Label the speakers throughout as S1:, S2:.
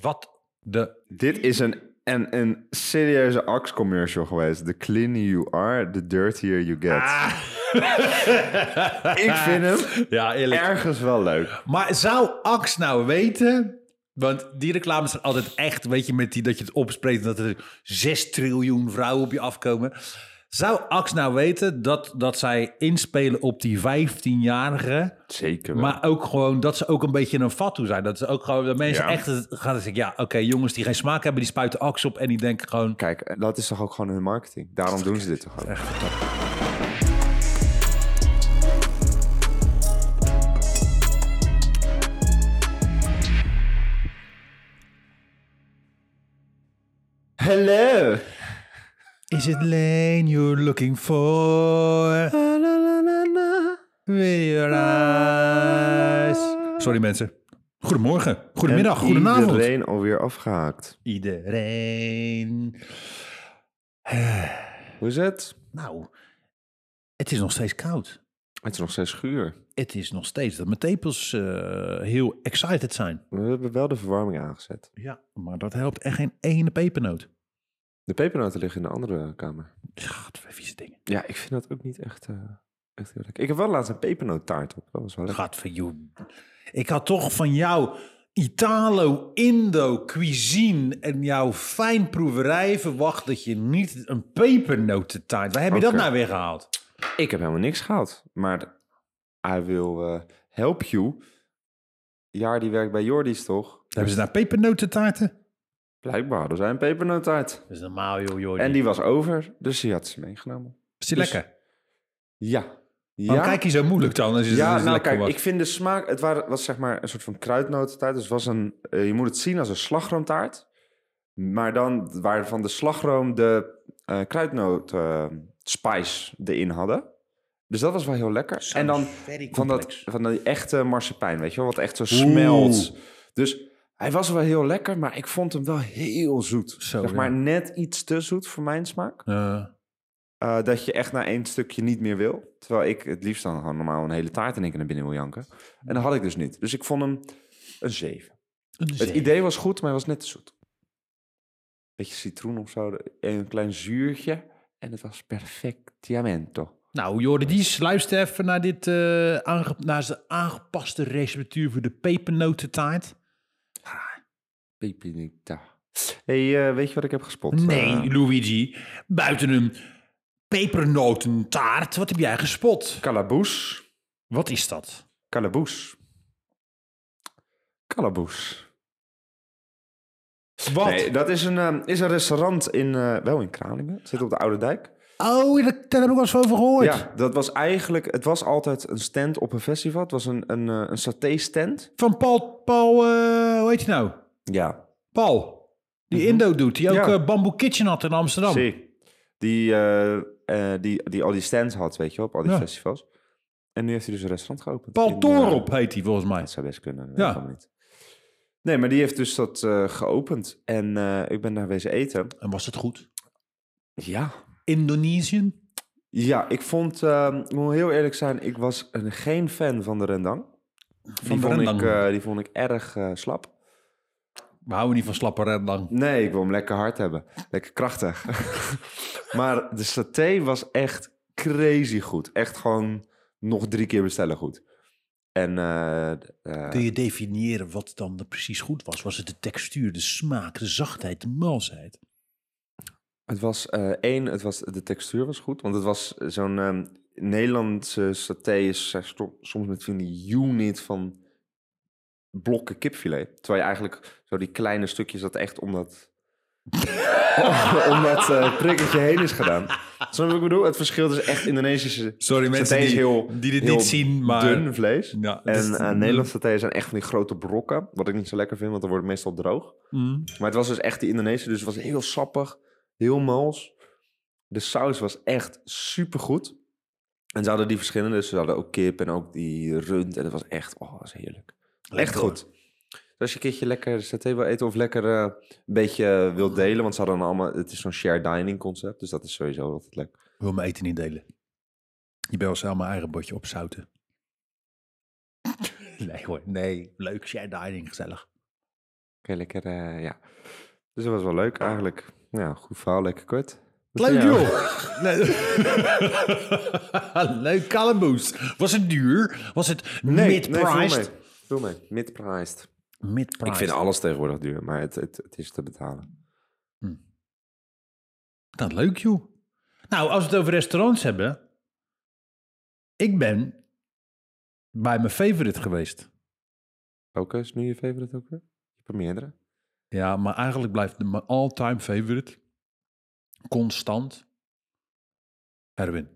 S1: Wat de...
S2: Dit is een, een, een serieuze Axe commercial geweest. The cleaner you are, the dirtier you get. Ik vind hem
S1: Ja, eerlijk.
S2: ergens wel leuk.
S1: Maar zou Ax nou weten... Want die reclames zijn altijd echt, weet je, met die dat je het opspreekt... dat er 6 triljoen vrouwen op je afkomen. Zou Ax nou weten dat, dat zij inspelen op die 15-jarigen...
S2: Zeker wel.
S1: Maar ook gewoon dat ze ook een beetje een fat toe zijn. Dat ze ook gewoon dat mensen
S2: Ja.
S1: echt het- gaan zeggen: ja, oké, jongens die geen smaak hebben, die spuiten aks op en die denken gewoon.
S2: Kijk, dat is toch ook gewoon hun marketing. Daarom doen ze dit toch ook. Hello.
S1: Is it lane you're looking for? With your eyes. Sorry mensen. Goedemorgen, goedemiddag, goedenavond. Iedereen.
S2: Iedereen alweer afgehaakt. Hoe is het?
S1: Eh, Nou, het is nog steeds koud.
S2: Het is nog steeds schuur.
S1: Het is nog steeds dat mijn tepels eh, heel excited zijn.
S2: We hebben wel de verwarming aangezet.
S1: Ja, maar dat helpt echt geen ene pepernoot.
S2: De pepernoten liggen in de andere kamer.
S1: Gadver, vieze dingen.
S2: Ja, ik vind dat ook niet echt, eh, echt heel lekker. Ik heb wel laatst een pepernoottaart op. Dat was wel lekker.
S1: Gadver, joh. Ik had toch van jou Italo-Indo-cuisine en jouw fijnproeverij verwacht dat je niet een pepernotentaart... Waar heb je dat
S2: Oké.
S1: nou weer gehaald?
S2: Ik heb helemaal niks gehad. Maar I will eh, help you. Jaar die werkt bij Jordi's, toch?
S1: Hebben ze daar pepernotentaarten?
S2: Blijkbaar, er zijn een pepernoot
S1: Dat is normaal, joh, joh.
S2: En die was over, dus die had ze meegenomen.
S1: Is die
S2: dus-
S1: lekker?
S2: Ja.
S1: Waarom
S2: Ja,
S1: kijk je zo moeilijk dan? Als je
S2: ja
S1: als je
S2: nou
S1: lekker
S2: kijk,
S1: was?
S2: ik vind de smaak... Het waren, was zeg maar een soort van kruidnotentaart. Dus het was een, eh, je moet het zien als een slagroomtaart. Maar dan waar van de slagroom de eh kruidnoot eh, spice erin hadden. Dus dat was wel heel lekker.
S1: Zo
S2: en dan
S1: very
S2: van, dat,
S1: complex.
S2: van die echte marsepein, weet je wel? Wat echt zo smelt. Dus hij was wel heel lekker, maar ik vond hem wel heel zoet.
S1: Zo,
S2: zeg
S1: ja.
S2: maar net iets te zoet voor mijn smaak.
S1: Eh,
S2: Eh, dat je echt na één stukje niet meer wil. Terwijl ik het liefst dan gewoon normaal een hele taart in één keer naar binnen wil janken. En dat had ik dus niet. Dus ik vond hem een 7.
S1: een
S2: Het
S1: zeven.
S2: idee was goed, maar hij was net te zoet. Beetje citroen of zo. Een klein zuurtje. En het was perfectiamento.
S1: Nou, Jordies, luister even naar, dit, eh, aange- naar zijn aangepaste receptuur voor de pepernotentaart.
S2: Pepinita. hey, eh, weet je wat ik heb gespot?
S1: Nee,
S2: Eh,
S1: Luigi. Buiten een pepernotentaart, wat heb jij gespot?
S2: Kalaboes.
S1: Wat is dat?
S2: Kalaboes. Kalaboes.
S1: Wat?
S2: Nee, dat is een, eh, is een restaurant in, eh, wel in Kralingen. Het zit op de Oude Dijk.
S1: Oh, dat- daar heb ik wel eens over gehoord.
S2: Ja, dat was eigenlijk... Het was altijd een stand op een festival. Het was een, een, eh, een saté-stand.
S1: Van Paul, Paul eh, hoe heet hij nou?
S2: Ja.
S1: Paul. Die Indo doet, die ook
S2: Ja.
S1: eh, Bamboo Kitchen had in Amsterdam.
S2: Zie. Die, eh, eh, die, die al die stands had, weet je wel, op al die
S1: Ja.
S2: festivals. En nu heeft hij dus een restaurant geopend. In,
S1: Paul
S2: eh,
S1: Torop heet hij volgens mij.
S2: Het zou best kunnen, dat
S1: Ja.
S2: weet ik allemaal niet. Nee, maar die heeft dus dat eh, geopend. En eh, ik ben daar wezen eten.
S1: En was het goed?
S2: Ja.
S1: Indonesiën?
S2: Ja, ik vond, ehm, ik moet heel eerlijk zijn, ik was een, geen fan van de rendang. die,
S1: de
S2: vond
S1: rendang.
S2: Ik, eh, die vond ik erg eh, slap.
S1: We houden niet van slappe rendang.
S2: Nee, ik wil hem lekker hard hebben. Lekker krachtig. maar de saté was echt crazy goed. Echt gewoon nog drie keer bestellen goed. En eh, eh,
S1: Kun je definiëren wat dan er precies goed was? Was het de textuur, de smaak, de zachtheid, de malsheid?
S2: Het was eh, één, het was, de textuur was goed. Want het was zo'n ehm, Nederlandse saté is zij sto- soms met van die unit van blokken kipfilet. Terwijl je eigenlijk zo die kleine stukjes dat echt om dat, om dat eh, prikketje heen is gedaan. Snap je wat ik bedoel? Het verschil is echt Indonesische
S1: Sorry mensen
S2: saté is
S1: die-
S2: heel,
S1: die dit
S2: heel
S1: niet zien, maar-
S2: dun vlees.
S1: Ja,
S2: en
S1: dat is-
S2: eh, Nederlandse saté zijn echt van die grote brokken. Wat ik niet zo lekker vind, want dan wordt het meestal droog.
S1: Mm.
S2: Maar het was dus echt die Indonesische, dus het was heel sappig, heel mals. De saus was echt supergoed. En ze hadden die verschillende, dus ze hadden ook kip en ook die rund. En het was echt, oh, dat was heerlijk. echt
S1: hoor.
S2: goed. Dus als je een keertje lekker saté wil eten of lekker eh, een beetje eh, wilt delen, want ze hadden allemaal, het is zo'n shared dining concept, dus dat is sowieso altijd lekker.
S1: Ik wil mijn eten niet delen. Je bel zelf mijn eigen bordje opzouten. Nee hoor, nee. Leuk, shared dining, gezellig.
S2: lekker, eh, ja. Dus dat was wel leuk eigenlijk. Ja, goed verhaal, lekker kort. Wat
S1: Leuk
S2: van jou?
S1: joh. Nee. Leuk kalamboes. Was het duur? Was het
S2: Nee,
S1: mid-priced?
S2: veel mee. Veel mee. Mid-priced.
S1: mid-priced.
S2: Ik vind alles tegenwoordig duur, maar het, het, het is te betalen.
S1: Nou, leuk joh. Nou, als we het over restaurants hebben. Ik ben bij mijn favorite geweest.
S2: Welke is nu je favorite ook weer? Je hebt er meerdere.
S1: Ja, maar eigenlijk blijft mijn all-time favorite. Constant. Erwin.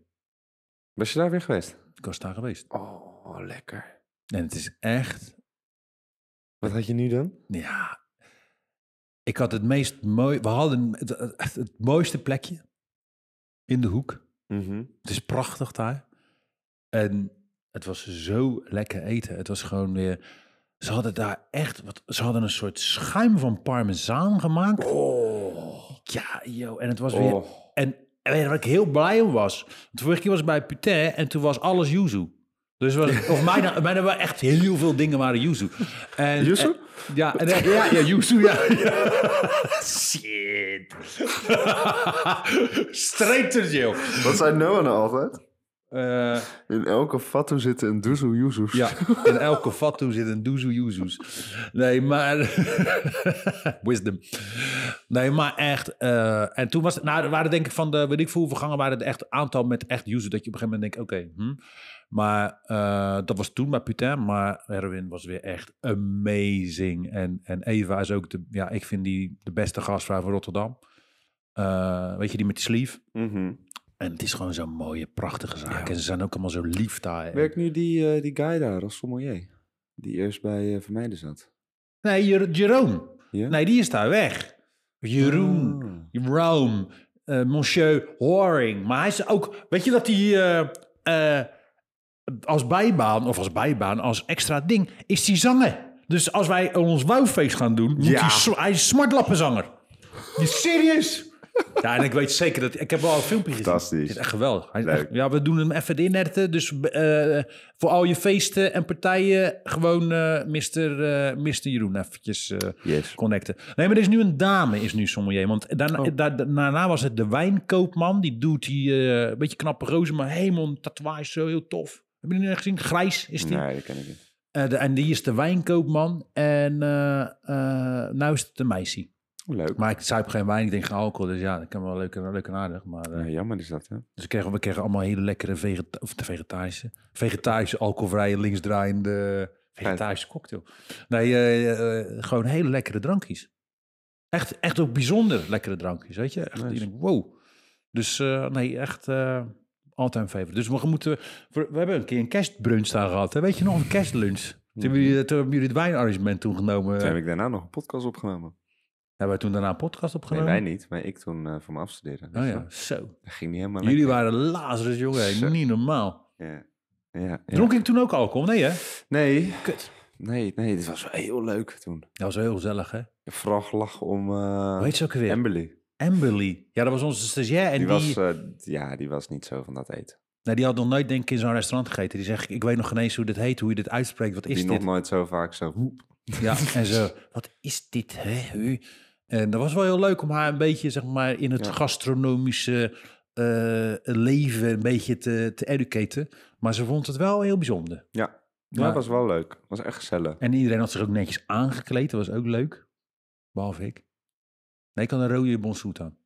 S2: Was je daar weer geweest?
S1: Ik was daar geweest.
S2: Oh, lekker.
S1: En het is echt
S2: Wat had je nu dan?
S1: Ja, ik had het meest mooi. We hadden het, het- het mooiste plekje in de hoek.
S2: Mhm.
S1: Het is prachtig daar. En het was zo lekker eten. Het was gewoon weer. Ze hadden daar echt. Wat, ze hadden een soort schuim van parmezaan gemaakt.
S2: Oh.
S1: Ja, joh. En het was weer. En, en weet je waar ik heel blij om was? Want vorige keer was ik bij Putain en toen was alles Yuzu. Dus was, of mijna, mijna waren echt heel veel dingen waren Yuzu. En,
S2: Yuzu?
S1: en- ja, en, ja, ja, Yuzu, ja. Shit. Streepters, joh.
S2: Wat zei Noah nou altijd?
S1: Eh,
S2: In elke fatu zitten een doezel joezoes.
S1: ja, in elke fatu zit een doezoe Yuzu's. Nee, maar... Wisdom. Nee, maar echt... eh, en toen was het... Nou, er waren denk ik van de... Weet ik veel hoeveel gangen waren er echt een aantal met echt Yuzu. Dat je op een gegeven moment denkt, oké... hm. Maar eh, dat was toen bij Putain. Maar Erwin was weer echt amazing. En, en Eva is ook de... Ja, ik vind die de beste gastvrouw van Rotterdam. Eh, weet je, die met die sleeve. Mhm. En het is gewoon zo'n mooie, prachtige zaak. En ze zijn ook allemaal zo lief daar. En-
S2: Werkt nu die, eh, die guy daar als sommelier? Die eerst bij eh, Vermeijden zat.
S1: Nee, Jer- Jeroen.
S2: Ja?
S1: Nee, die is daar weg. Jeroen,
S2: Ah.
S1: Rome, eh, Monsieur Horing. Maar hij is ook... Weet je dat hij eh, eh, als bijbaan, of als bijbaan, als extra ding, is hij zanger. Dus als wij ons wouwfeest gaan doen, moet
S2: Ja.
S1: hij, sm- hij is smartlappenzanger. Die is serieus? Ja, en ik weet zeker dat... Ik heb wel een filmpje gezien.
S2: Fantastisch.
S1: Het is echt geweldig. Hij is
S2: Leuk.
S1: echt- ja, we doen hem even de innerten. Dus eh, voor al je feesten en partijen gewoon eh Mr., eh, Mr. Jeroen eventjes... eh,
S2: Yes. Oh.
S1: connecten. Nee, maar er is nu een dame, is nu sommelier. Want daarna, daar- daarna was het de wijnkoopman. Die doet die eh, een beetje knappe rozen, maar helemaal tatoeage, zo heel tof. Heb je die nog gezien? Grijs is die.
S2: Nee, dat ken ik niet.
S1: Eh, de- en die is de wijnkoopman. En eh eh, nou is het de meisje.
S2: Oh, Leuk.
S1: Maar ik zuip geen wijn, ik drink geen alcohol. Dus ja, dat kan wel leuk, en- leuk en aardig. Maar, eh,
S2: Ja, jammer is dat, hè?
S1: dus we kregen, we kregen allemaal hele lekkere vegeta of de vegetarische, vegetarische, alcoholvrije, linksdraaiende vegetarische cocktail. Nee, eh, eh, gewoon hele lekkere drankjes. Echt, echt ook bijzonder lekkere drankjes, weet je. Echt,
S2: Nice.
S1: je denkt, wow. Dus eh, nee, echt eh all-time favorite. Dus we moeten, we, we hebben een keer een kerstbrunch daar gehad, hè? weet je nog, een kerstlunch. Toen hebben jullie, eh, toen hebben jullie het wijnarrangement toen genomen.
S2: Toen heb
S1: Hebben
S2: ik daarna nog een podcast opgenomen.
S1: we toen daarna een podcast
S2: Nee,
S1: opgenomen?
S2: wij niet, maar ik toen eh, voor me afstuderen.
S1: Oh
S2: Dus
S1: ja,
S2: dat-
S1: zo.
S2: Dat ging niet helemaal
S1: Jullie
S2: lekker.
S1: waren lazerus, jongen.
S2: Zo.
S1: Niet normaal.
S2: Ja. Ja, ja.
S1: Dronk ik toen ook alcohol? Nee, hè?
S2: Nee,
S1: Kut.
S2: nee, nee, dit was wel heel leuk toen.
S1: Dat was heel gezellig, hè?
S2: Ik heb vooral gelachen om
S1: Hoe
S2: eh
S1: heet ze ook weer?
S2: Amberly.
S1: Amberly. Ja, dat was onze stagiair. Oh En
S2: Die
S1: die,
S2: was, eh, ja, die was niet zo van dat eten.
S1: nou, die had nog nooit, denk ik, in zo'n restaurant gegeten. Die zegt, ik weet nog geen eens hoe dit heet, hoe je dit uitspreekt. Wat is
S2: die
S1: dit?
S2: nog nooit zo vaak zo... hoep.
S1: Ja, en zo, wat is dit, hè? u? En dat was wel heel leuk om haar een beetje, zeg maar, in het
S2: Ja.
S1: gastronomische eh, leven een beetje te, te educaten. Maar ze vond het wel heel bijzonder.
S2: Ja.
S1: Ja.
S2: ja, dat was wel leuk. was echt gezellig.
S1: En iedereen had zich ook netjes aangekleed. Dat was ook leuk. Behalve ik. Nee, ik had een rode bonsoet aan.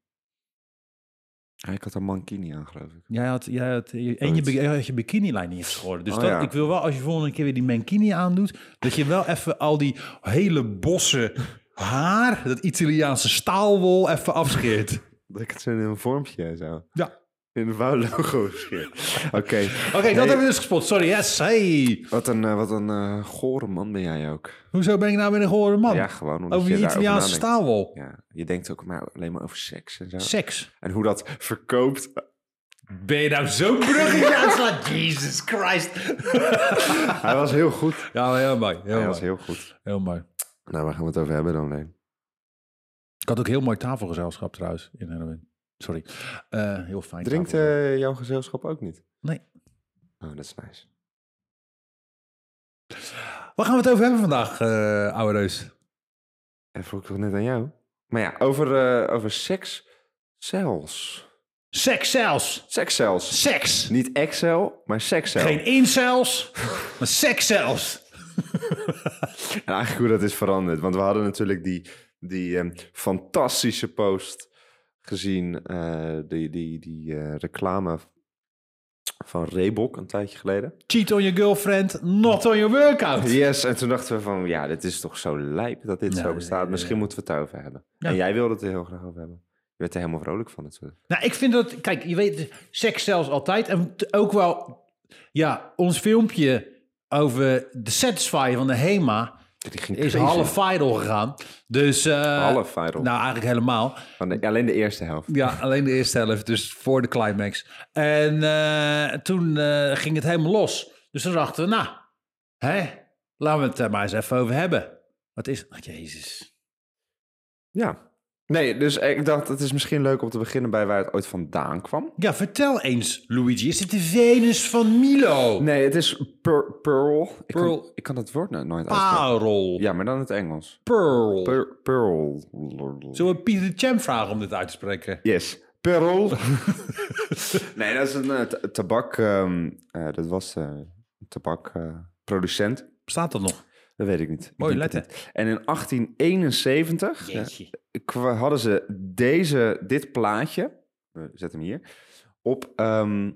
S2: Ja, ik had een mankini aan, geloof ik.
S1: Jij had, jij had, je- en je, bi- jij had je bikinilijn niet geschoren. Dus
S2: Oh,
S1: dat,
S2: ja.
S1: ik wil wel, als je volgende keer weer die mankini aandoet... dat je wel even al die hele bossen haar... dat Italiaanse staalwol even afscheert.
S2: Dat ik het zo in een vormpje en zo.
S1: Ja.
S2: In een wauw logo misschien. Oké.
S1: Oké, dat
S2: Nee.
S1: hebben we dus gespot. Sorry, yes, hey.
S2: Wat een, eh, wat een eh, gore man ben jij ook.
S1: Hoezo ben ik nou weer een gehoorde man?
S2: Ja, gewoon omdat
S1: over
S2: je
S1: die
S2: daarover
S1: Italiaanse
S2: nadenkt.
S1: staalwol.
S2: Ja, je denkt ook maar alleen maar over seks en zo.
S1: Seks.
S2: En hoe dat verkoopt.
S1: Ben je nou zo'n bruggetje aan het slaan? Jesus Christ.
S2: Hij was heel goed.
S1: Ja, maar heel mooi. Heel
S2: Hij was
S1: mooi.
S2: heel goed.
S1: Heel mooi.
S2: Nou, waar gaan we het over hebben dan, Leen?
S1: Ik had ook heel mooi tafelgezelschap trouwens in Halloween. Sorry. Eh, heel fijn.
S2: Drinkt
S1: tafelgezelschap.
S2: eh, jouw gezelschap ook niet?
S1: Nee.
S2: Oh, dat is nice.
S1: Waar gaan we het over hebben vandaag, eh oude reus?
S2: En vroeg ik toch net aan jou. Maar ja, over, eh, over seks cells.
S1: Seks zelfs.
S2: Seks cells.
S1: Seks.
S2: Niet Excel, maar seks cells.
S1: Geen incels, maar seks zelfs.
S2: En eigenlijk hoe dat is veranderd. Want we hadden natuurlijk die, die ehm, fantastische post gezien. eh, die die, die eh, reclame van Reebok een tijdje geleden.
S1: Cheat on your girlfriend, not on your workout.
S2: Yes, en toen dachten we van, ja, dit is toch zo lijp dat dit
S1: Ja,
S2: zo bestaat.
S1: ja, ja,
S2: Misschien
S1: ja.
S2: moeten we het daarover hebben.
S1: Ja.
S2: En jij wilde het er heel graag over hebben. Je werd er helemaal vrolijk van natuurlijk.
S1: Nou, ik vind dat, kijk, je weet, seks zelfs altijd. En t- ook wel, ja, ons filmpje over de Satisfy van de HEMA
S2: Die ging
S1: is
S2: crazy.
S1: half viral gegaan. Dus, eh,
S2: Half viral.
S1: Nou, eigenlijk helemaal.
S2: Van de- alleen de eerste helft.
S1: Ja, alleen de eerste helft, dus voor de climax. En eh, toen eh, ging het helemaal los. Dus toen dachten we, nou, hè, laten we het er maar eens even over hebben. Wat is, oh, jezus.
S2: Ja. Nee, dus ik dacht, het is misschien leuk om te beginnen bij waar het ooit vandaan kwam.
S1: Ja, vertel eens, Luigi, is dit de Venus van Milo?
S2: Nee, het is per, Pearl. Ik,
S1: Pearl.
S2: Kan, ik kan dat woord nou nooit uitspreken.
S1: Parel.
S2: Ja, maar dan het Engels.
S1: Pearl.
S2: Per, pearl.
S1: Zullen we Pieter de Champ vragen om dit uit te spreken?
S2: Yes. Perol. nee, dat is een eh, ta- tabak. ehm, eh, dat was eh, een tabakproducent.
S1: Bestaat dat nog?
S2: dat weet ik niet. Ik
S1: Mooi,
S2: denk het
S1: letten.
S2: niet. En in 1871 eh, kwa- hadden ze deze, dit plaatje. we zet hem hier. Op ehm,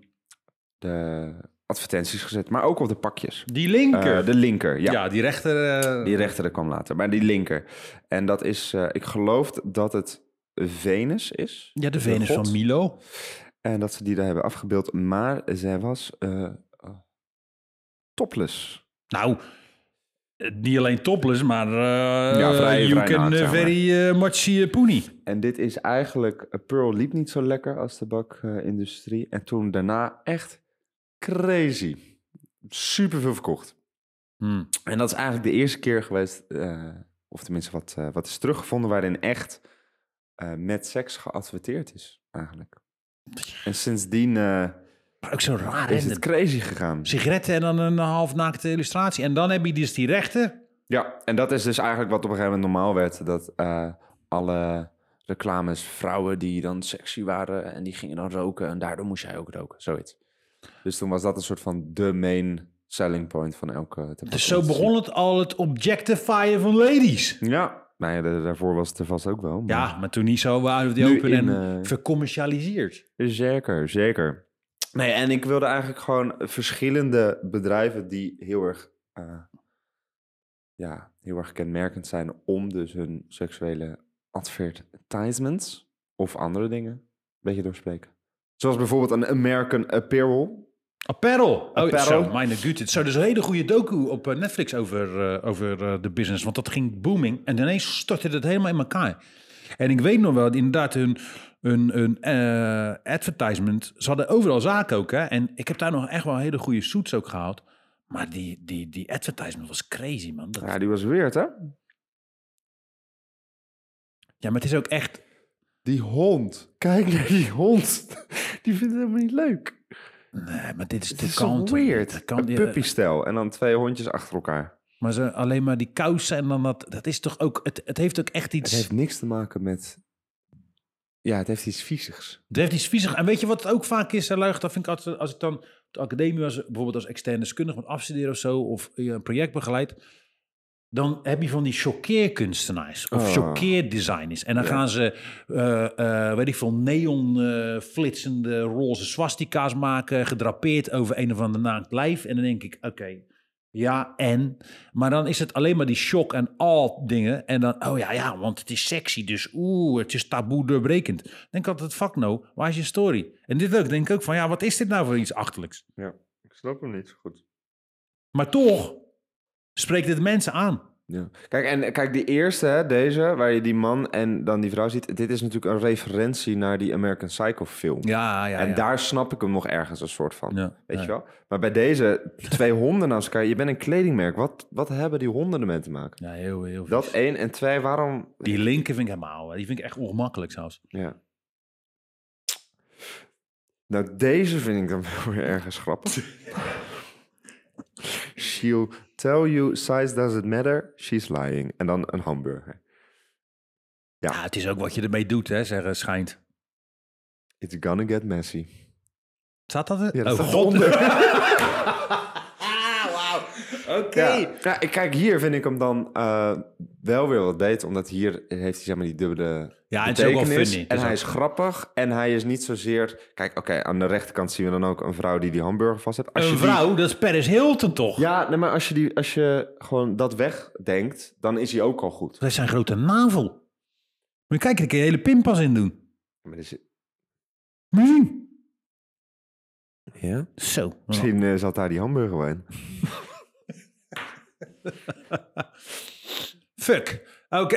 S2: de advertenties gezet, maar ook op de pakjes.
S1: Die
S2: Eh,
S1: linker.
S2: de linker, ja.
S1: ja. die rechter. eh,
S2: Die rechter dat kwam later, maar die linker. En dat is, eh, ik geloof dat het Venus is.
S1: ja, de Venus
S2: god.
S1: van Milo.
S2: En dat ze die daar hebben afgebeeld. Maar zij was eh, eh, topless.
S1: Nou, eh, niet alleen topless, maar. eh
S2: Ja, vrij-
S1: you
S2: vrij
S1: can
S2: naakt,
S1: eh,
S2: zeg maar.
S1: very eh, much see a poenie.
S2: En dit is eigenlijk... eh, Pearl liep niet zo lekker als de bakindustrie. en toen daarna echt crazy. Superveel verkocht.
S1: Hmm.
S2: En dat is eigenlijk de eerste keer geweest... eh, of tenminste wat, eh, wat is teruggevonden... waarin echt eh, met seks geadverteerd is, eigenlijk. En sindsdien eh,
S1: Maar ook zo raar.
S2: is
S1: hè?
S2: het crazy gegaan.
S1: Sigaretten en dan een halfnaakte illustratie. En dan heb je dus die rechter.
S2: Ja, en dat is dus eigenlijk wat op een gegeven moment normaal werd. Dat eh, alle reclames, vrouwen die dan sexy waren en die gingen dan roken. En daardoor moest jij ook roken, zoiets. Dus toen was dat een soort van de main selling point van elke...
S1: Dus zo begon het al het objectifyen van ladies.
S2: Ja, nou ja, da- daarvoor was het er vast ook wel. maar-
S1: Ja, maar toen niet zo out of the
S2: Nu
S1: open
S2: in,
S1: en
S2: eh,
S1: vercommercialiseerd.
S2: Zeker, zeker. Nee, en ik wilde eigenlijk gewoon verschillende bedrijven die heel erg, eh, ja, heel erg kenmerkend zijn om dus hun seksuele advertisements of andere dingen een beetje doorspreken. Zoals bijvoorbeeld een American Apparel.
S1: Apparel. Oh,
S2: Apparel.
S1: zo, mijn gut. Zo, dus een hele goede docu op eh, Netflix over, eh, over eh, de business. Want dat ging booming. En ineens stortte het helemaal in elkaar. En ik weet nog wel, dat inderdaad, hun, hun, hun eh, advertisement... Ze hadden overal zaken ook, hè. En ik heb daar nog echt wel hele goede shoots ook gehaald. Maar die, die, die advertisement was crazy, man. Dat,
S2: Ja, die was weird, hè?
S1: ja, maar het is ook echt...
S2: Die hond. Kijk naar die hond. Die vindt het helemaal niet leuk.
S1: Nee, maar dit is
S2: Het
S1: de
S2: is zo
S1: kant.
S2: weird.
S1: kan, eh,
S2: Een puppy-stijl en dan twee hondjes achter elkaar.
S1: Maar ze, alleen maar die kousen en dan dat... Dat is toch ook... Het, het heeft ook echt iets...
S2: Het heeft niks te maken met. Ja, het heeft iets viezigs.
S1: Het heeft iets viezig. En weet je wat het ook vaak is, hè, Luig? Dat vind ik altijd, als ik dan op de academie was, bijvoorbeeld als externe deskundige moet afstuderen of zo, of je een project begeleidt, dan heb je van die choqueerkunstenaars of
S2: Oh.
S1: choqueerdesigners. En dan gaan ze, eh, eh, weet ik veel, neon eh, flitsende roze swastika's maken, gedrapeerd over een of ander naakt lijf. En dan denk ik, oké, ja, en. Maar dan is het alleen maar die shock en al dingen. En dan, oh ja, ja, want het is sexy. Dus oeh, het is taboe doorbrekend. Ik Denk altijd, fuck no, waar is je story? En dit ook, denk ik ook van, ja, wat is dit nou voor iets achterlijks?
S2: Ja, ik snap hem niet zo goed.
S1: Maar toch spreekt het mensen aan.
S2: Ja. Kijk, en eh, kijk, die eerste, hè, deze, waar je die man en dan die vrouw ziet. Dit is natuurlijk een referentie naar die American Psycho film.
S1: Ja, ja,
S2: en daar snap ik hem nog ergens een soort van.
S1: Ja,
S2: weet
S1: ja.
S2: je wel? Maar bij deze twee honden naast elkaar, je bent een kledingmerk. Wat, wat hebben die honden ermee te maken?
S1: Ja, heel, heel
S2: Dat
S1: vies.
S2: één en twee, waarom.
S1: Die linker vind ik helemaal, die vind ik echt ongemakkelijk zelfs.
S2: Ja. Nou, deze vind ik dan wel weer ergens grappig. She'll tell you size doesn't matter, she's lying. En dan een hamburger.
S1: Ja. het is ook wat je ermee doet, hè, zeggen schijnt.
S2: It's gonna get messy.
S1: Staat dat er?
S2: Ja, dat
S1: oh,
S2: staat
S1: god.
S2: Oké. Ja. Ja, ik- kijk, hier vind ik hem dan eh, wel weer wat beter. Omdat hier heeft hij zeg maar die dubbele
S1: Ja, het is ook wel
S2: betekenis.
S1: funny. dus Het
S2: En
S1: is
S2: hij
S1: ook-
S2: is grappig. En hij is niet zozeer... Kijk, oké, aan de rechterkant zien we dan ook een vrouw die die hamburger vast heeft. Als je
S1: Een
S2: die-
S1: vrouw, dat is Paris Hilton toch?
S2: ja, nee, maar als je, die, als je gewoon dat wegdenkt, dan is hij ook al goed.
S1: Dat is zijn grote navel. Moet je kijken, daar kun je hele pinpas in doen.
S2: Maar er zit-
S1: Moet je zien.
S2: ja?
S1: Zo.
S2: Misschien eh, zat daar die hamburger wel in.
S1: Fuck. Oké.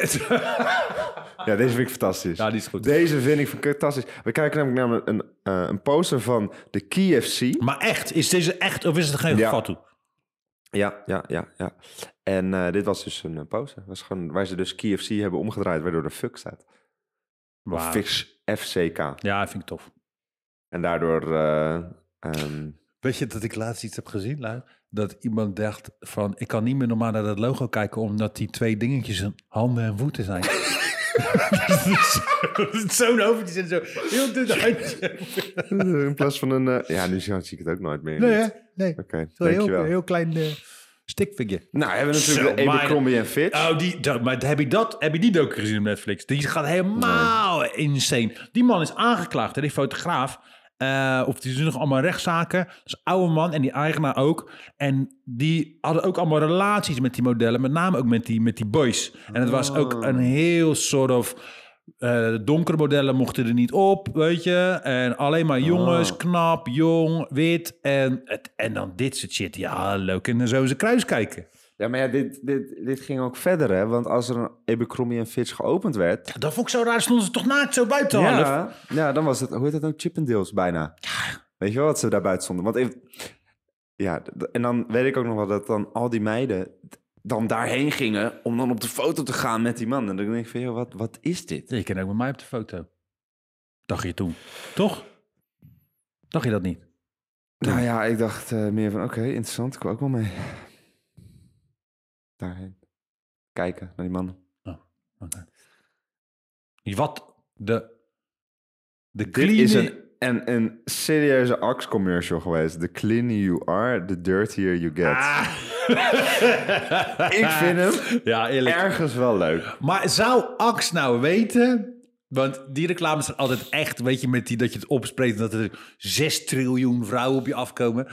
S2: Ja, deze vind ik fantastisch.
S1: ja, die is goed.
S2: Deze vind ik fantastisch. We kijken namelijk naar een, eh, een poster van de KFC.
S1: Maar echt, is deze echt of is het geen
S2: Ja.
S1: vat toe?
S2: Ja, ja, ja, ja. En eh, dit was dus een eh, poster. Was gewoon, waar ze dus KFC hebben omgedraaid, waardoor er fuck staat. Of fix FCK.
S1: Ja, vind ik tof.
S2: En daardoor... eh, ehm,
S1: Weet je dat ik laatst iets heb gezien? Lui? Dat iemand dacht van, ik kan niet meer normaal naar dat logo kijken... omdat die twee dingetjes een handen en voeten zijn. Zo'n hoofdje en zo. Heel dun handje.
S2: in plaats van een... eh, ja, nu zie zie ik het ook nooit meer.
S1: Nee, hè?
S2: Oké,
S1: nee. Zo'n
S2: dankjewel.
S1: heel, heel klein eh stikvigje.
S2: Nou, we hebben
S1: Zo,
S2: natuurlijk de Abercrombie
S1: maar-
S2: en Fitch.
S1: Oh, die, dat- maar heb je, dat, heb je die ook gezien op Netflix? Die gaat helemaal insane. Die man is aangeklaagd, hè, die fotograaf. eh, of die doen nog allemaal rechtszaken. Dat is een oude man en die eigenaar ook. En die hadden ook allemaal relaties met die modellen. Met name ook met die, met die boys. En het was ook een heel soort of... eh, donkere modellen mochten er niet op, weet je. En alleen maar jongens,
S2: Oh.
S1: knap, jong, wit. En, het, en dan dit soort shit. Ja, hallo, kunnen zo eens kruis kijken.
S2: Ja, maar ja, dit, dit, dit ging ook verder, hè. Want als er een Abercrombie en Fitch geopend werd...
S1: Ja, dat vond ik zo raar. Stonden ze toch naakt zo buiten half?
S2: Ja, ja, dan was het, hoe heet dat nou, Chippendales bijna. Weet je wel wat ze daar buiten stonden? Want even, ja, d- en dan weet ik ook nog wel dat dan al die meiden d- dan daarheen gingen om dan op de foto te gaan met die man. En dan denk ik van, joh, wat, wat is dit?
S1: Je kan ook met mij op de foto. Dacht je toen. Toch? Dacht je dat niet?
S2: Nou ja, ik dacht eh, meer van, oké, interessant, ik wil ook wel mee. Daarheen. Kijken naar die man.
S1: Oké. Wat de... De
S2: Dit
S1: clean...
S2: is een, een, een serieuze Axe commercial geweest. The cleaner you are, the dirtier you get.
S1: Ah.
S2: Ik vind hem
S1: Ja, eerlijk.
S2: ergens wel leuk.
S1: Maar zou Ax nou weten... Want die reclames zijn altijd echt, weet je, met die dat je het opspreekt... dat er 6 triljoen vrouwen op je afkomen.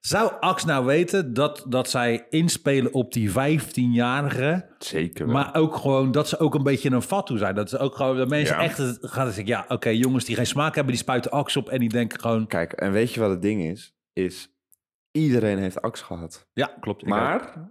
S1: Zou Ax nou weten dat, dat zij inspelen op die 15-jarige...
S2: Zeker
S1: Maar ook gewoon dat ze ook een beetje een fatu zijn. Dat ze ook gewoon dat mensen
S2: Ja.
S1: echt het- gaan zeggen: ja, oké, jongens die geen smaak hebben, die spuiten aks op en die denken gewoon:
S2: Kijk, en weet je wat het ding is? Is iedereen heeft Axe gehad.
S1: ja, klopt. ik ook.
S2: Maar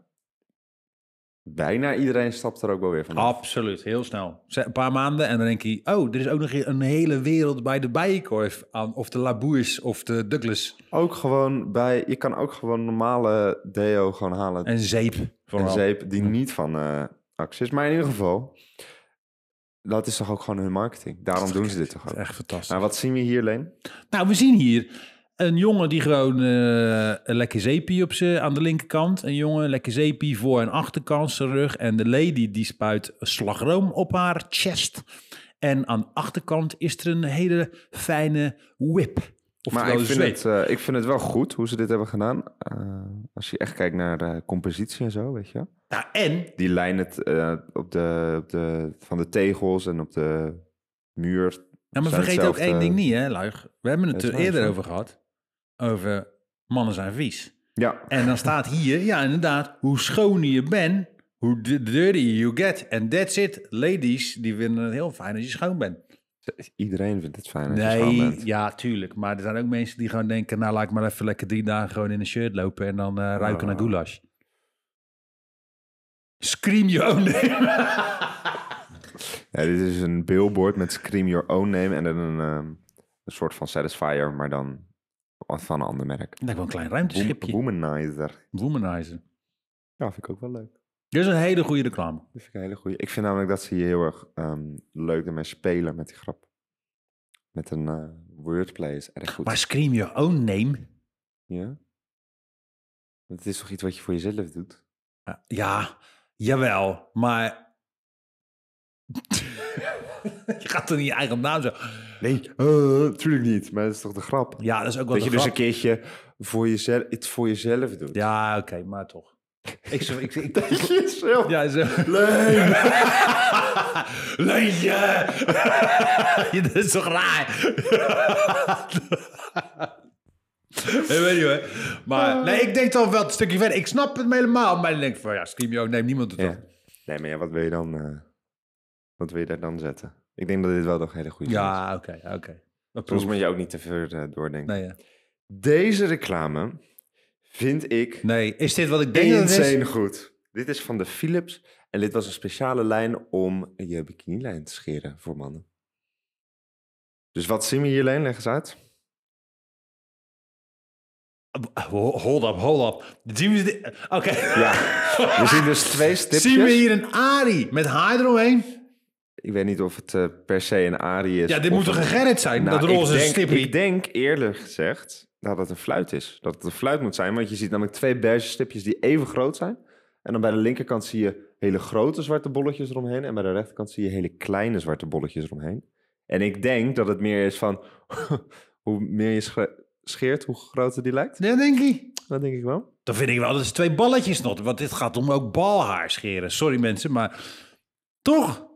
S2: bijna iedereen stapt er ook wel weer van af.
S1: absoluut, heel snel. Ze- Een paar maanden en dan denk je: oh, er is ook nog een hele wereld bij de bijenkorf aan, of de Laboers of de Douglas
S2: Ook gewoon bij, je kan ook gewoon normale deo gewoon halen. En,
S1: en zeep. Vooral.
S2: zeep die niet van eh Axe is. Maar in ieder geval, dat is toch ook gewoon hun marketing. Daarom doen ze dit toch ook.
S1: Echt fantastisch.
S2: Nou, wat zien we hier, Leen?
S1: Nou, we zien hier een jongen die gewoon eh, een lekker zeepie op ze aan de linkerkant. Een jongen, lekker zeepie voor en achterkant zijn rug. En de lady die spuit slagroom op haar chest. En aan de achterkant is er een hele fijne whip.
S2: Maar
S1: Oftewel
S2: ik vind,
S1: zweep.
S2: het, eh, ik vind het wel goed hoe ze dit hebben gedaan. Eh, als je echt kijkt naar de compositie en zo, weet je wel.
S1: Nou, en
S2: die lijn het eh, op de, op de, van de tegels en op de muur.
S1: Ja, maar
S2: Zijn
S1: vergeet ook
S2: hetzelfde-
S1: één ding niet, hè, Luig. We hebben het
S2: Dat
S1: er
S2: is waar,
S1: eerder
S2: zo.
S1: over gehad. Over mannen zijn vies.
S2: Ja,
S1: En dan staat hier, ja inderdaad, hoe schoner je bent, hoe d- dirty you get. En that's it. Ladies, die vinden het heel fijn als je schoon bent.
S2: iedereen vindt het fijn als je schoon
S1: Nee,
S2: bent.
S1: ja, tuurlijk. Maar er zijn ook mensen die gewoon denken, nou laat ik maar even lekker drie dagen gewoon in een shirt lopen en dan eh, ruiken naar
S2: Ah.
S1: goulash. Scream your own name.
S2: Ja, dit is een billboard met Scream Your Own Name en dan een, ehm, een soort van Satisfier, maar dan van een ander merk.
S1: Dat wel een klein
S2: Woom-
S1: ruimteschipje.
S2: Womanizer.
S1: Womanizer.
S2: Ja, vind ik ook wel leuk.
S1: Dit is een hele goede reclame.
S2: Dat vind ik een hele goeie. Ik vind namelijk dat ze hier heel erg ehm, leuk ermee spelen met die grap. Met een eh, wordplay is erg goed.
S1: Maar scream your own name.
S2: Ja? Het is toch iets wat je voor jezelf doet?
S1: Eh, Ja, jawel. Maar je gaat toch niet je eigen naam zeggen?
S2: Nee, natuurlijk niet. Maar dat is toch de grap?
S1: Ja, dat is ook wel
S2: dat je
S1: de
S2: dus
S1: grap.
S2: een keertje voor jezelf, het voor jezelf doet.
S1: Ja, oké, maar toch. Ik, zeg- ik, ik,
S2: Dat je jezelf...
S1: ja, zo.
S2: Leuk!
S1: Leentje! Je, dat is toch raar? Ik weet niet hoor.
S2: Ah.
S1: Maar nee, ik denk toch wel een stukje verder. Ik snap het me helemaal. Maar dan denk ik van ja, Screamio neemt niemand het
S2: Ja.
S1: op.
S2: Nee, maar ja, wat wil je dan... eh, wat wil je daar dan zetten? Ik denk dat dit wel nog een hele goede is.
S1: Ja, oké, oké. Wat
S2: Soms
S1: proef-
S2: moet je ook niet te veel eh, doordenken.
S1: Nee, ja.
S2: Deze reclame vind ik
S1: nee, is dit wat ik denk dat het is?
S2: insane goed. Dit is van de Philips. En dit was een speciale lijn om je bikinilijn te scheren voor mannen. Dus wat zien we hierlijn? Leg eens uit.
S1: Hold up, hold up. Zien we dit? Oké.
S2: Ja, we zien dus twee stipjes.
S1: Zien we hier een Ari met haar eromheen?
S2: Ik weet niet of het eh, per se een arie is.
S1: Ja, dit
S2: of
S1: moet toch
S2: een-
S1: een Gerrit zijn?
S2: Nou,
S1: dat roze
S2: ik denk,
S1: stippie.
S2: Ik denk eerlijk gezegd dat het een fluit is. Dat het een fluit moet zijn, want je ziet namelijk twee beige stipjes die even groot zijn. En dan bij de linkerkant zie je hele grote zwarte bolletjes eromheen. En bij de rechterkant zie je hele kleine zwarte bolletjes eromheen. En ik denk dat het meer is van hoe meer je sche- scheert, hoe groter die lijkt.
S1: Ja, denk ik.
S2: Dat denk ik wel.
S1: Dan vind ik wel dat is twee balletjes nog. Want dit gaat om ook balhaar scheren. Sorry mensen, maar toch.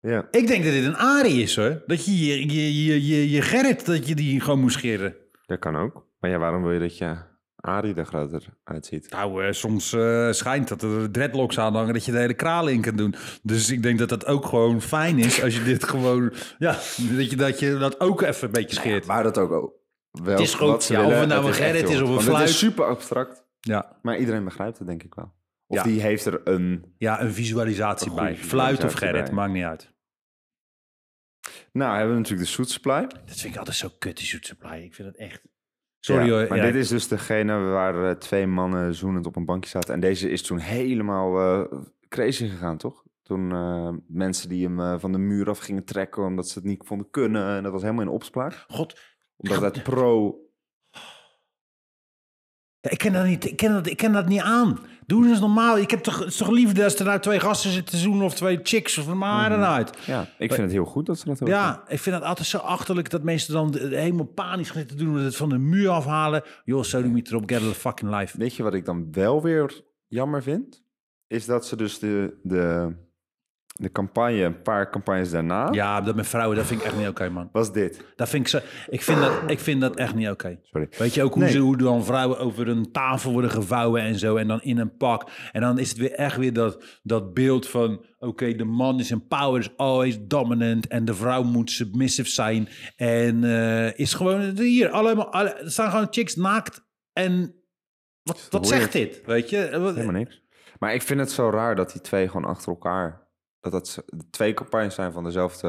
S2: Ja.
S1: Ik denk dat dit een arie is hoor. Dat je je, je, je, je, je Gerrit, dat je die gewoon moest scheren.
S2: Dat kan ook. Maar ja, waarom wil je dat je Arie er groter uitziet?
S1: Nou, eh, soms eh, schijnt dat er dreadlocks aan hangen dat je de hele kraal in kan doen. Dus ik denk dat dat ook gewoon fijn is als je dit gewoon... Ja, dat je dat, je dat ook even een beetje scheert.
S2: Nou Waar dat ook wel.
S1: Het is goed, ja, of het nou een Gerrit is of een
S2: Het
S1: fluit.
S2: is super abstract.
S1: Ja,
S2: Maar iedereen begrijpt het, denk ik wel. Of
S1: Ja.
S2: die heeft er een...
S1: ja een visualisatie
S2: Een
S1: bij.
S2: goede
S1: Fluit of
S2: visualisatie
S1: Gerrit,
S2: bij.
S1: maakt niet uit.
S2: Nou, hebben we natuurlijk de Soet Supply.
S1: Dat vind ik altijd zo kut, die zoet supply. Ik vind het echt... Sorry
S2: Ja,
S1: hoor.
S2: Maar
S1: ja,
S2: dit is dus degene waar eh, twee mannen zoenend op een bankje zaten. En deze is toen helemaal eh, crazy gegaan, toch? Toen eh, mensen die hem eh, van de muur af gingen trekken omdat ze het niet vonden kunnen. En dat was helemaal in opspraak.
S1: God,
S2: Omdat het pro...
S1: Ja, ik, ken dat niet, ik, ken dat, ik ken dat niet aan. Doe eens normaal. Ik heb toch, het is toch liefde als er nou twee gasten zitten te zoenen of twee chicks of maar dan uit.
S2: Ja, ik vind het heel goed dat ze dat hebben
S1: Ja, ik vind dat altijd zo achterlijk dat mensen dan de- de- helemaal panisch gaan zitten doen dat het van de muur afhalen. Joh, sodomieter op, get a fucking life.
S2: Weet je wat ik dan wel weer jammer vind? Is dat ze dus de, de, de campagne, een paar campagnes daarna,
S1: Ja, dat met vrouwen, dat vind ik echt niet oké, man.
S2: was dit.
S1: Dat vind ik, zo, ik, vind dat, ik vind dat echt niet oké.
S2: Sorry.
S1: Weet je ook hoe,
S2: Nee.
S1: ze, hoe dan vrouwen over een tafel worden gevouwen en zo. En dan in een pak. En dan is het weer echt weer dat, dat beeld van... Oké, de man is in power, is always dominant. En de vrouw moet submissive zijn. En eh, is gewoon... Hier, allemaal, alle, er staan gewoon chicks naakt. En wat, wat
S2: weird.
S1: zegt dit? Weet je? Wat-
S2: Helemaal niks. Maar ik vind het zo raar dat die twee gewoon achter elkaar, dat dat ze- de twee campagnes zijn van dezelfde,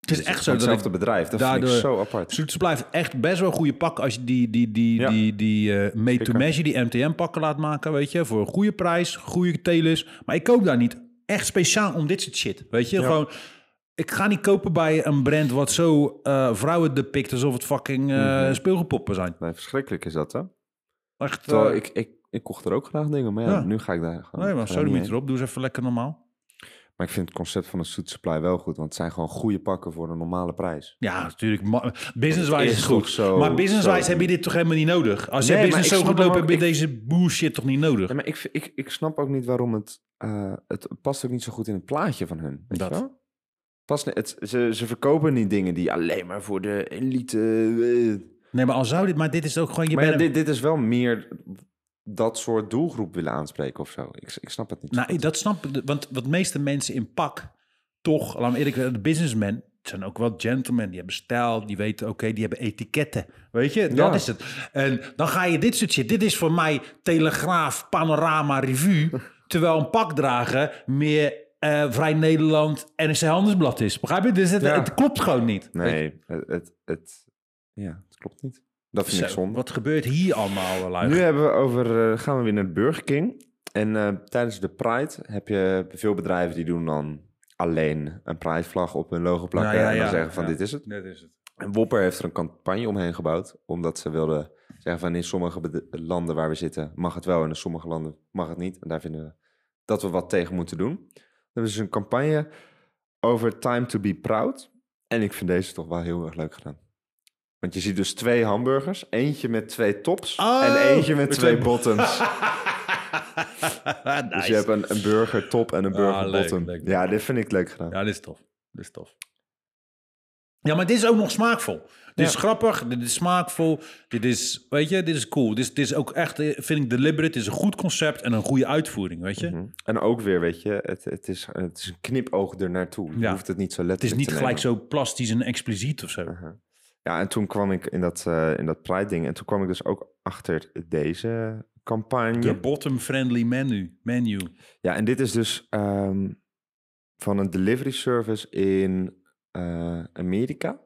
S1: het is echt zo
S2: van
S1: dat ik
S2: hetzelfde bedrijf. Dat vind
S1: daardoor-
S2: ik zo apart.
S1: Zoets blijft echt best wel goede pakken als je die, die, die,
S2: Ja.
S1: die, die eh, made to
S2: Zeker.
S1: measure, die MTM pakken laat maken, weet je, voor een goede prijs, goede telers. Maar ik koop daar niet echt speciaal om dit soort shit, weet je,
S2: Ja.
S1: gewoon. Ik ga niet kopen bij een brand wat zo eh, vrouwen depict alsof het fucking eh,
S2: Mhm.
S1: speelgoedpoppen zijn.
S2: Nee, verschrikkelijk is dat, hè?
S1: Echt. eh,
S2: Terwijl ik, ik, ik kocht er ook graag dingen, maar ja,
S1: Ja.
S2: nu ga ik daar gewoon
S1: nee, maar
S2: ik ga
S1: zo doe je
S2: er niet
S1: het
S2: heen.
S1: erop. Doe eens even lekker normaal.
S2: Maar ik vind het concept van een suit supply wel goed, want het zijn gewoon goede pakken voor een normale prijs.
S1: Ja, natuurlijk. ma- Businesswise is,
S2: Is
S1: het
S2: toch
S1: goed.
S2: zo-
S1: maar businesswise
S2: zo-
S1: heb je dit toch helemaal niet nodig? Als
S2: Nee,
S1: je
S2: maar
S1: business zo
S2: ik snap
S1: goed
S2: hem
S1: loopt,
S2: ook.
S1: heb je
S2: Ik-
S1: deze bullshit toch niet nodig?
S2: Ja, maar ik, ik, ik snap ook niet waarom het... eh, het past ook niet zo goed in het plaatje van hun. Weet
S1: Dat.
S2: Je wel? Past niet- het, ze, ze verkopen niet dingen die alleen maar voor de elite... eh.
S1: Nee, maar al zou dit, maar dit is ook gewoon je
S2: maar ja,
S1: bent een-
S2: dit, dit is wel meer dat soort doelgroep willen aanspreken of zo. Ik, ik snap het niet.
S1: Nou, dat snap ik. Want wat meeste mensen in pak, toch, laat me eerlijk zeggen, de businessmen het zijn ook wel gentlemen. Die hebben stijl, die weten, oké, die hebben etiketten. Weet je, dat
S2: Ja.
S1: is het. En dan ga je dit soort shit. Dit is voor mij Telegraaf, Panorama, Revue. terwijl een pak dragen meer eh, Vrij Nederland en NRC Handelsblad is. Begrijp je? Dus het,
S2: Ja.
S1: het klopt gewoon niet. Weet je?
S2: nee, het, het, het- ja, het klopt niet. Dat vind ik
S1: Zo,
S2: zonde.
S1: Wat gebeurt hier allemaal, lui?
S2: Nu hebben we over, eh, gaan we weer naar de Burger King. En eh, tijdens de Pride heb je veel bedrijven die doen dan alleen een Pride-vlag op hun logo plakken.
S1: Nou ja,
S2: en dan
S1: ja,
S2: zeggen van
S1: ja.
S2: dit is het.
S1: Dat is het.
S2: En Wopper heeft er een campagne omheen gebouwd, omdat ze wilden zeggen van in sommige bed- landen waar we zitten mag het wel en in sommige landen mag het niet. En daar vinden we dat we wat tegen moeten doen. Dan hebben ze een dus campagne over Time to be Proud. En ik vind deze toch wel heel erg leuk gedaan. Want je ziet dus twee hamburgers. Eentje met twee tops
S1: Oh,
S2: en eentje met
S1: met
S2: twee
S1: twee-
S2: bottoms.
S1: nice.
S2: Dus je hebt een, een burger top en een burger
S1: Ah, leuk,
S2: bottom.
S1: leuk.
S2: Ja, dit vind ik leuk gedaan.
S1: Ja, dit is tof. Dit is tof. Ja, maar dit is ook nog smaakvol. Dit is
S2: Ja.
S1: grappig, dit is smaakvol, dit is, weet je, dit is cool. Dit is, dit is ook echt, eh, vind ik, deliberate. Dit is een goed concept en een goede uitvoering, weet je.
S2: Mhm. En ook weer, weet je, het, het, is, het is een knipoog ernaartoe. Je
S1: Ja.
S2: hoeft het niet zo
S1: Het is
S2: letterlijk
S1: niet
S2: te
S1: gelijk
S2: nemen.
S1: zo plastisch en expliciet of zo.
S2: Aha. Ja, en toen kwam ik in dat, eh in dat Pride ding. En toen kwam ik dus ook achter deze campagne.
S1: De bottom-friendly menu. menu.
S2: Ja, en dit is dus ehm, van een delivery service in eh, Amerika.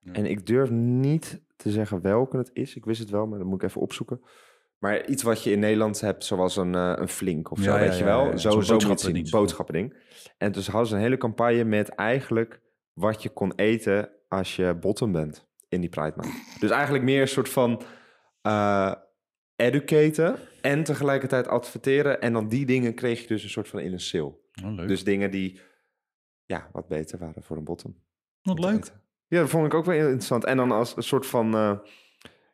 S1: Ja.
S2: En ik durf niet te zeggen welke het is. Ik wist het wel, maar dat moet ik even opzoeken. Maar iets wat je in Nederland hebt, zoals een, eh, een flink of zo,
S1: Ja, ja,
S2: weet
S1: ja,
S2: je wel.
S1: ja, ja.
S2: Zo,
S1: Zo'n
S2: zo moet je het zien,
S1: boodschappending.
S2: boodschappending. En dus hadden ze een hele campagne met eigenlijk wat je kon eten als je bottom bent in die Pride maand. dus eigenlijk meer een soort van eh educaten en tegelijkertijd adverteren. En dan die dingen kreeg je dus een soort van in een sale.
S1: Oh, leuk.
S2: Dus dingen die ja, wat beter waren voor een bottom.
S1: Wat
S2: om te
S1: leuk.
S2: eten. Ja, dat vond ik ook wel heel interessant. En dan als een soort van... eh,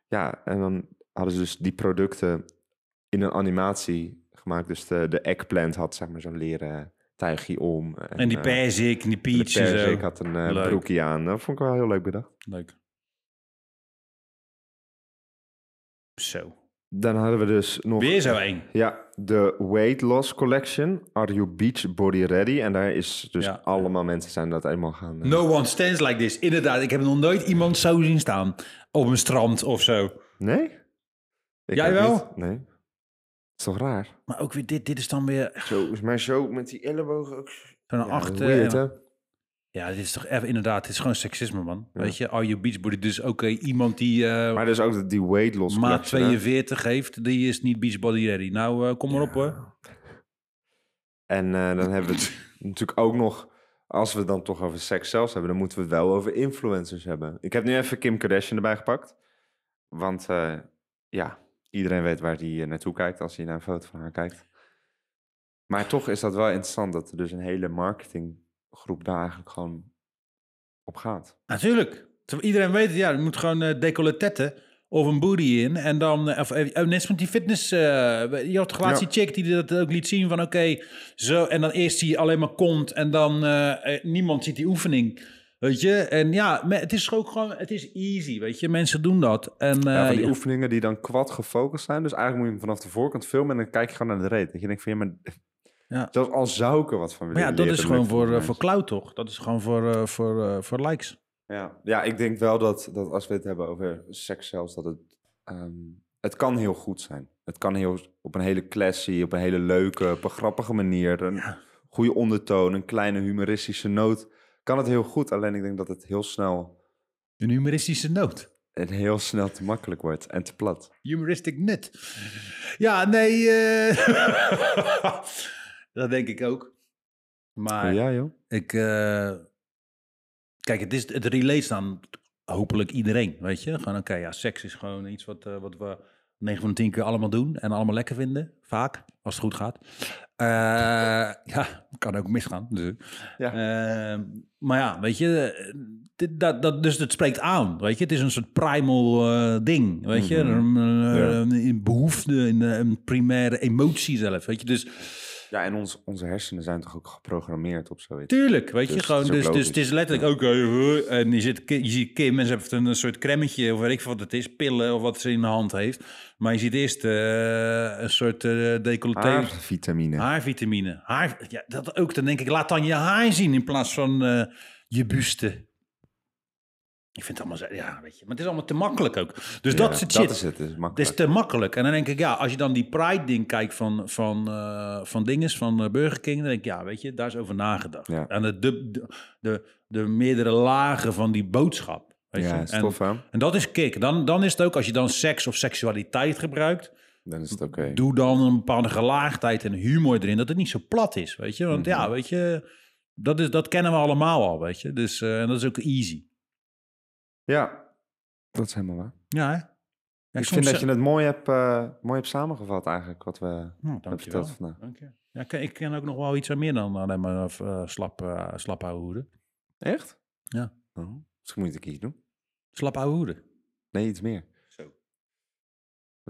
S2: ja, en dan hadden ze dus die producten in een animatie gemaakt. Dus de, de eggplant had zeg maar zo'n leren tuigje om.
S1: En die
S2: eh,
S1: perzik en die
S2: de
S1: peach en zo.
S2: perzik had een eh,
S1: Leuk.
S2: broekje aan. Dat vond ik wel heel leuk bedacht.
S1: Leuk. Zo.
S2: Dan hadden we dus nog...
S1: Weer zo één.
S2: Ja, de Weight Loss Collection. Are you beach body ready? En daar is dus
S1: Ja.
S2: allemaal mensen zijn dat helemaal gaan... eh,
S1: No one stands like this. Inderdaad, ik heb nog nooit iemand zo zien staan. Op een strand of zo.
S2: Nee? Ik
S1: Jij
S2: ook
S1: wel?
S2: niet. Nee. is toch raar?
S1: Maar ook weer dit. Dit is dan weer
S2: Zo, maar zo met die ellebogen ook...
S1: zo'n
S2: Ja,
S1: achter.
S2: weird, hè?
S1: eh, ja, dit is toch even inderdaad. Dit is gewoon seksisme, man. Weet je, are you beachbody? Dus oké, iemand die eh,
S2: Maar dus ook dat die weight loss
S1: maat
S2: collection, hè?
S1: 42 heeft, die is niet beachbody ready. Nou, eh, kom maar op hoor.
S2: En eh, dan hebben we het natuurlijk ook nog... Als we het dan toch over seks zelfs hebben... dan moeten we het wel over influencers hebben. Ik heb nu even Kim Kardashian erbij gepakt. Want eh, ja, iedereen weet waar die eh, naartoe kijkt... als hij naar een foto van haar kijkt. Maar toch is dat wel interessant... dat er dus een hele marketinggroep daar eigenlijk gewoon op gaat.
S1: Natuurlijk. Terwijl Iedereen weet, het, ja, je moet gewoon eh decolletetten of een booty in. En dan, eh, of, eh, oh, net als met die fitness. eh, je had toch laatst
S2: Ja.
S1: die chick die dat ook liet zien van oké, zo. En dan eerst zie je alleen maar kont en dan eh, eh, niemand ziet die oefening. Weet je? En ja, me- het is ook gewoon, het is easy, weet je. Mensen doen dat. En,
S2: Ja,
S1: eh,
S2: van die
S1: ja.
S2: oefeningen die dan kwad gefocust zijn. Dus eigenlijk moet je hem vanaf de voorkant filmen en dan kijk je gewoon naar de reet. Dat je denkt van, ja, maar
S1: Ja.
S2: zelfs al zou ik er wat van
S1: Maar
S2: willen
S1: ja, dat
S2: leren,
S1: is
S2: lukt
S1: gewoon
S2: het
S1: voor, eh,
S2: niet
S1: voor cloud, toch? Dat is gewoon voor, eh, voor, eh, voor likes.
S2: eens. Ja. ja, ik denk wel dat, dat als we het hebben over seks zelfs, dat het... ehm, het kan heel goed zijn. Het kan heel, op een hele classy, op een hele leuke, op een grappige manier. Een goede ondertoon, een kleine humoristische noot. Kan het heel goed, alleen ik denk dat het heel snel,
S1: Een humoristische noot.
S2: en heel snel te makkelijk wordt en te plat.
S1: Humoristic nut. Ja, nee. eh, dat denk ik ook. Maar
S2: Ja, joh.
S1: ik. eh, kijk, het, is, het relates aan hopelijk iedereen. Weet je? Gewoon, oké, ja, seks is gewoon iets wat, eh, wat we 9 van de 10 keer allemaal doen. En allemaal lekker vinden. Vaak, als het goed gaat. Eh, ja, kan ook misgaan. Dus.
S2: Ja.
S1: Eh, maar ja, weet je, eh, dit, dat, dat, dus het spreekt aan, weet je. Het is een soort primal eh, ding, weet je.
S2: Mhm.
S1: Een, eh,
S2: Ja.
S1: een, een behoefte, een, eh, een primaire emotie zelf, weet je. Dus
S2: Ja, en ons, onze hersenen zijn toch ook geprogrammeerd op zoiets.
S1: tuurlijk, weet je,
S2: Dus
S1: gewoon.
S2: het is ook
S1: Dus, dus
S2: logisch.
S1: het is letterlijk, oké, eh, en je, zit, Ki- je ziet Kim en ze heeft een, een soort cremmetje, of weet ik veel wat het is, pillen of wat ze in de hand heeft. Maar je ziet eerst eh, een soort eh decolleté.
S2: Haarvitamine.
S1: Haarvitamine. Haar, ja, dat ook. Dan denk ik, laat dan je haar zien in plaats van eh, je buste. Ik vind het allemaal zo, ja, weet je. Maar het is allemaal te makkelijk ook. Dus dat is het shit.
S2: Dat is het, het is
S1: Het is
S2: makkelijk.
S1: te makkelijk. En dan denk ik, ja, als je dan die Pride-ding kijkt van, van, eh, van dinges, van eh, Burger King, dan denk ik, ja, weet je, daar is over nagedacht.
S2: Ja.
S1: En de, de, de, de meerdere lagen van die boodschap. Weet
S2: ja,
S1: je?
S2: is
S1: En,
S2: tof hè?
S1: en dat is kick. Dan, dan is het ook, als je dan seks of seksualiteit gebruikt,
S2: Dan is het oké.
S1: Doe dan een bepaalde gelaagdheid en humor erin, dat het niet zo plat is, weet je. Want
S2: Mhm.
S1: ja, weet je, dat, is, dat kennen we allemaal al, weet je. Dus eh, en dat is ook easy.
S2: Ja, dat is helemaal waar.
S1: Ja, hè? Ja,
S2: ik vind dat je het mooi eh, hebt, eh, mooi hebt samengevat eigenlijk, wat we hebben
S1: Nou, dankjewel.
S2: verteld vandaag.
S1: Dank je. Ja. Ja, ik, ken- ik ken ook nog wel iets aan meer dan alleen maar eh, slap, eh slap ouwe hoeren.
S2: Echt?
S1: Ja.
S2: Oh, misschien moet ik iets doen.
S1: Slap ouwe hoeren.
S2: Nee, iets meer.
S1: Zo.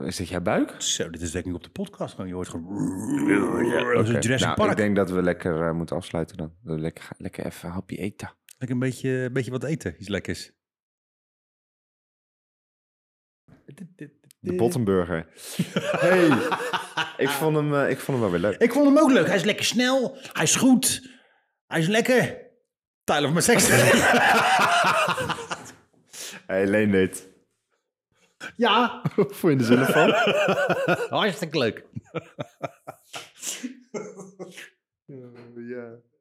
S2: Is dit jouw buik?
S1: Zo, dit is denk ik op de podcast gewoon. Je hoort gewoon...
S2: Oké.
S1: Als een Jurassic
S2: nou,
S1: Park.
S2: Ik denk dat we lekker eh, moeten afsluiten dan. Dat we Lekker, gaan- lekker even een hapje eten.
S1: Lekker een beetje, een beetje wat eten. Iets lekkers. Eh.
S2: De Bottenburger. hey, ik, vond hem, eh, ik vond hem wel weer leuk.
S1: Ik vond hem ook leuk. Hij is lekker snel. Hij is goed. Hij is lekker. Tyler van mijn seks.
S2: Hey, leen dit.
S1: ja.
S2: Voor in de zin van.
S1: Hartstikke leuk.
S2: ja.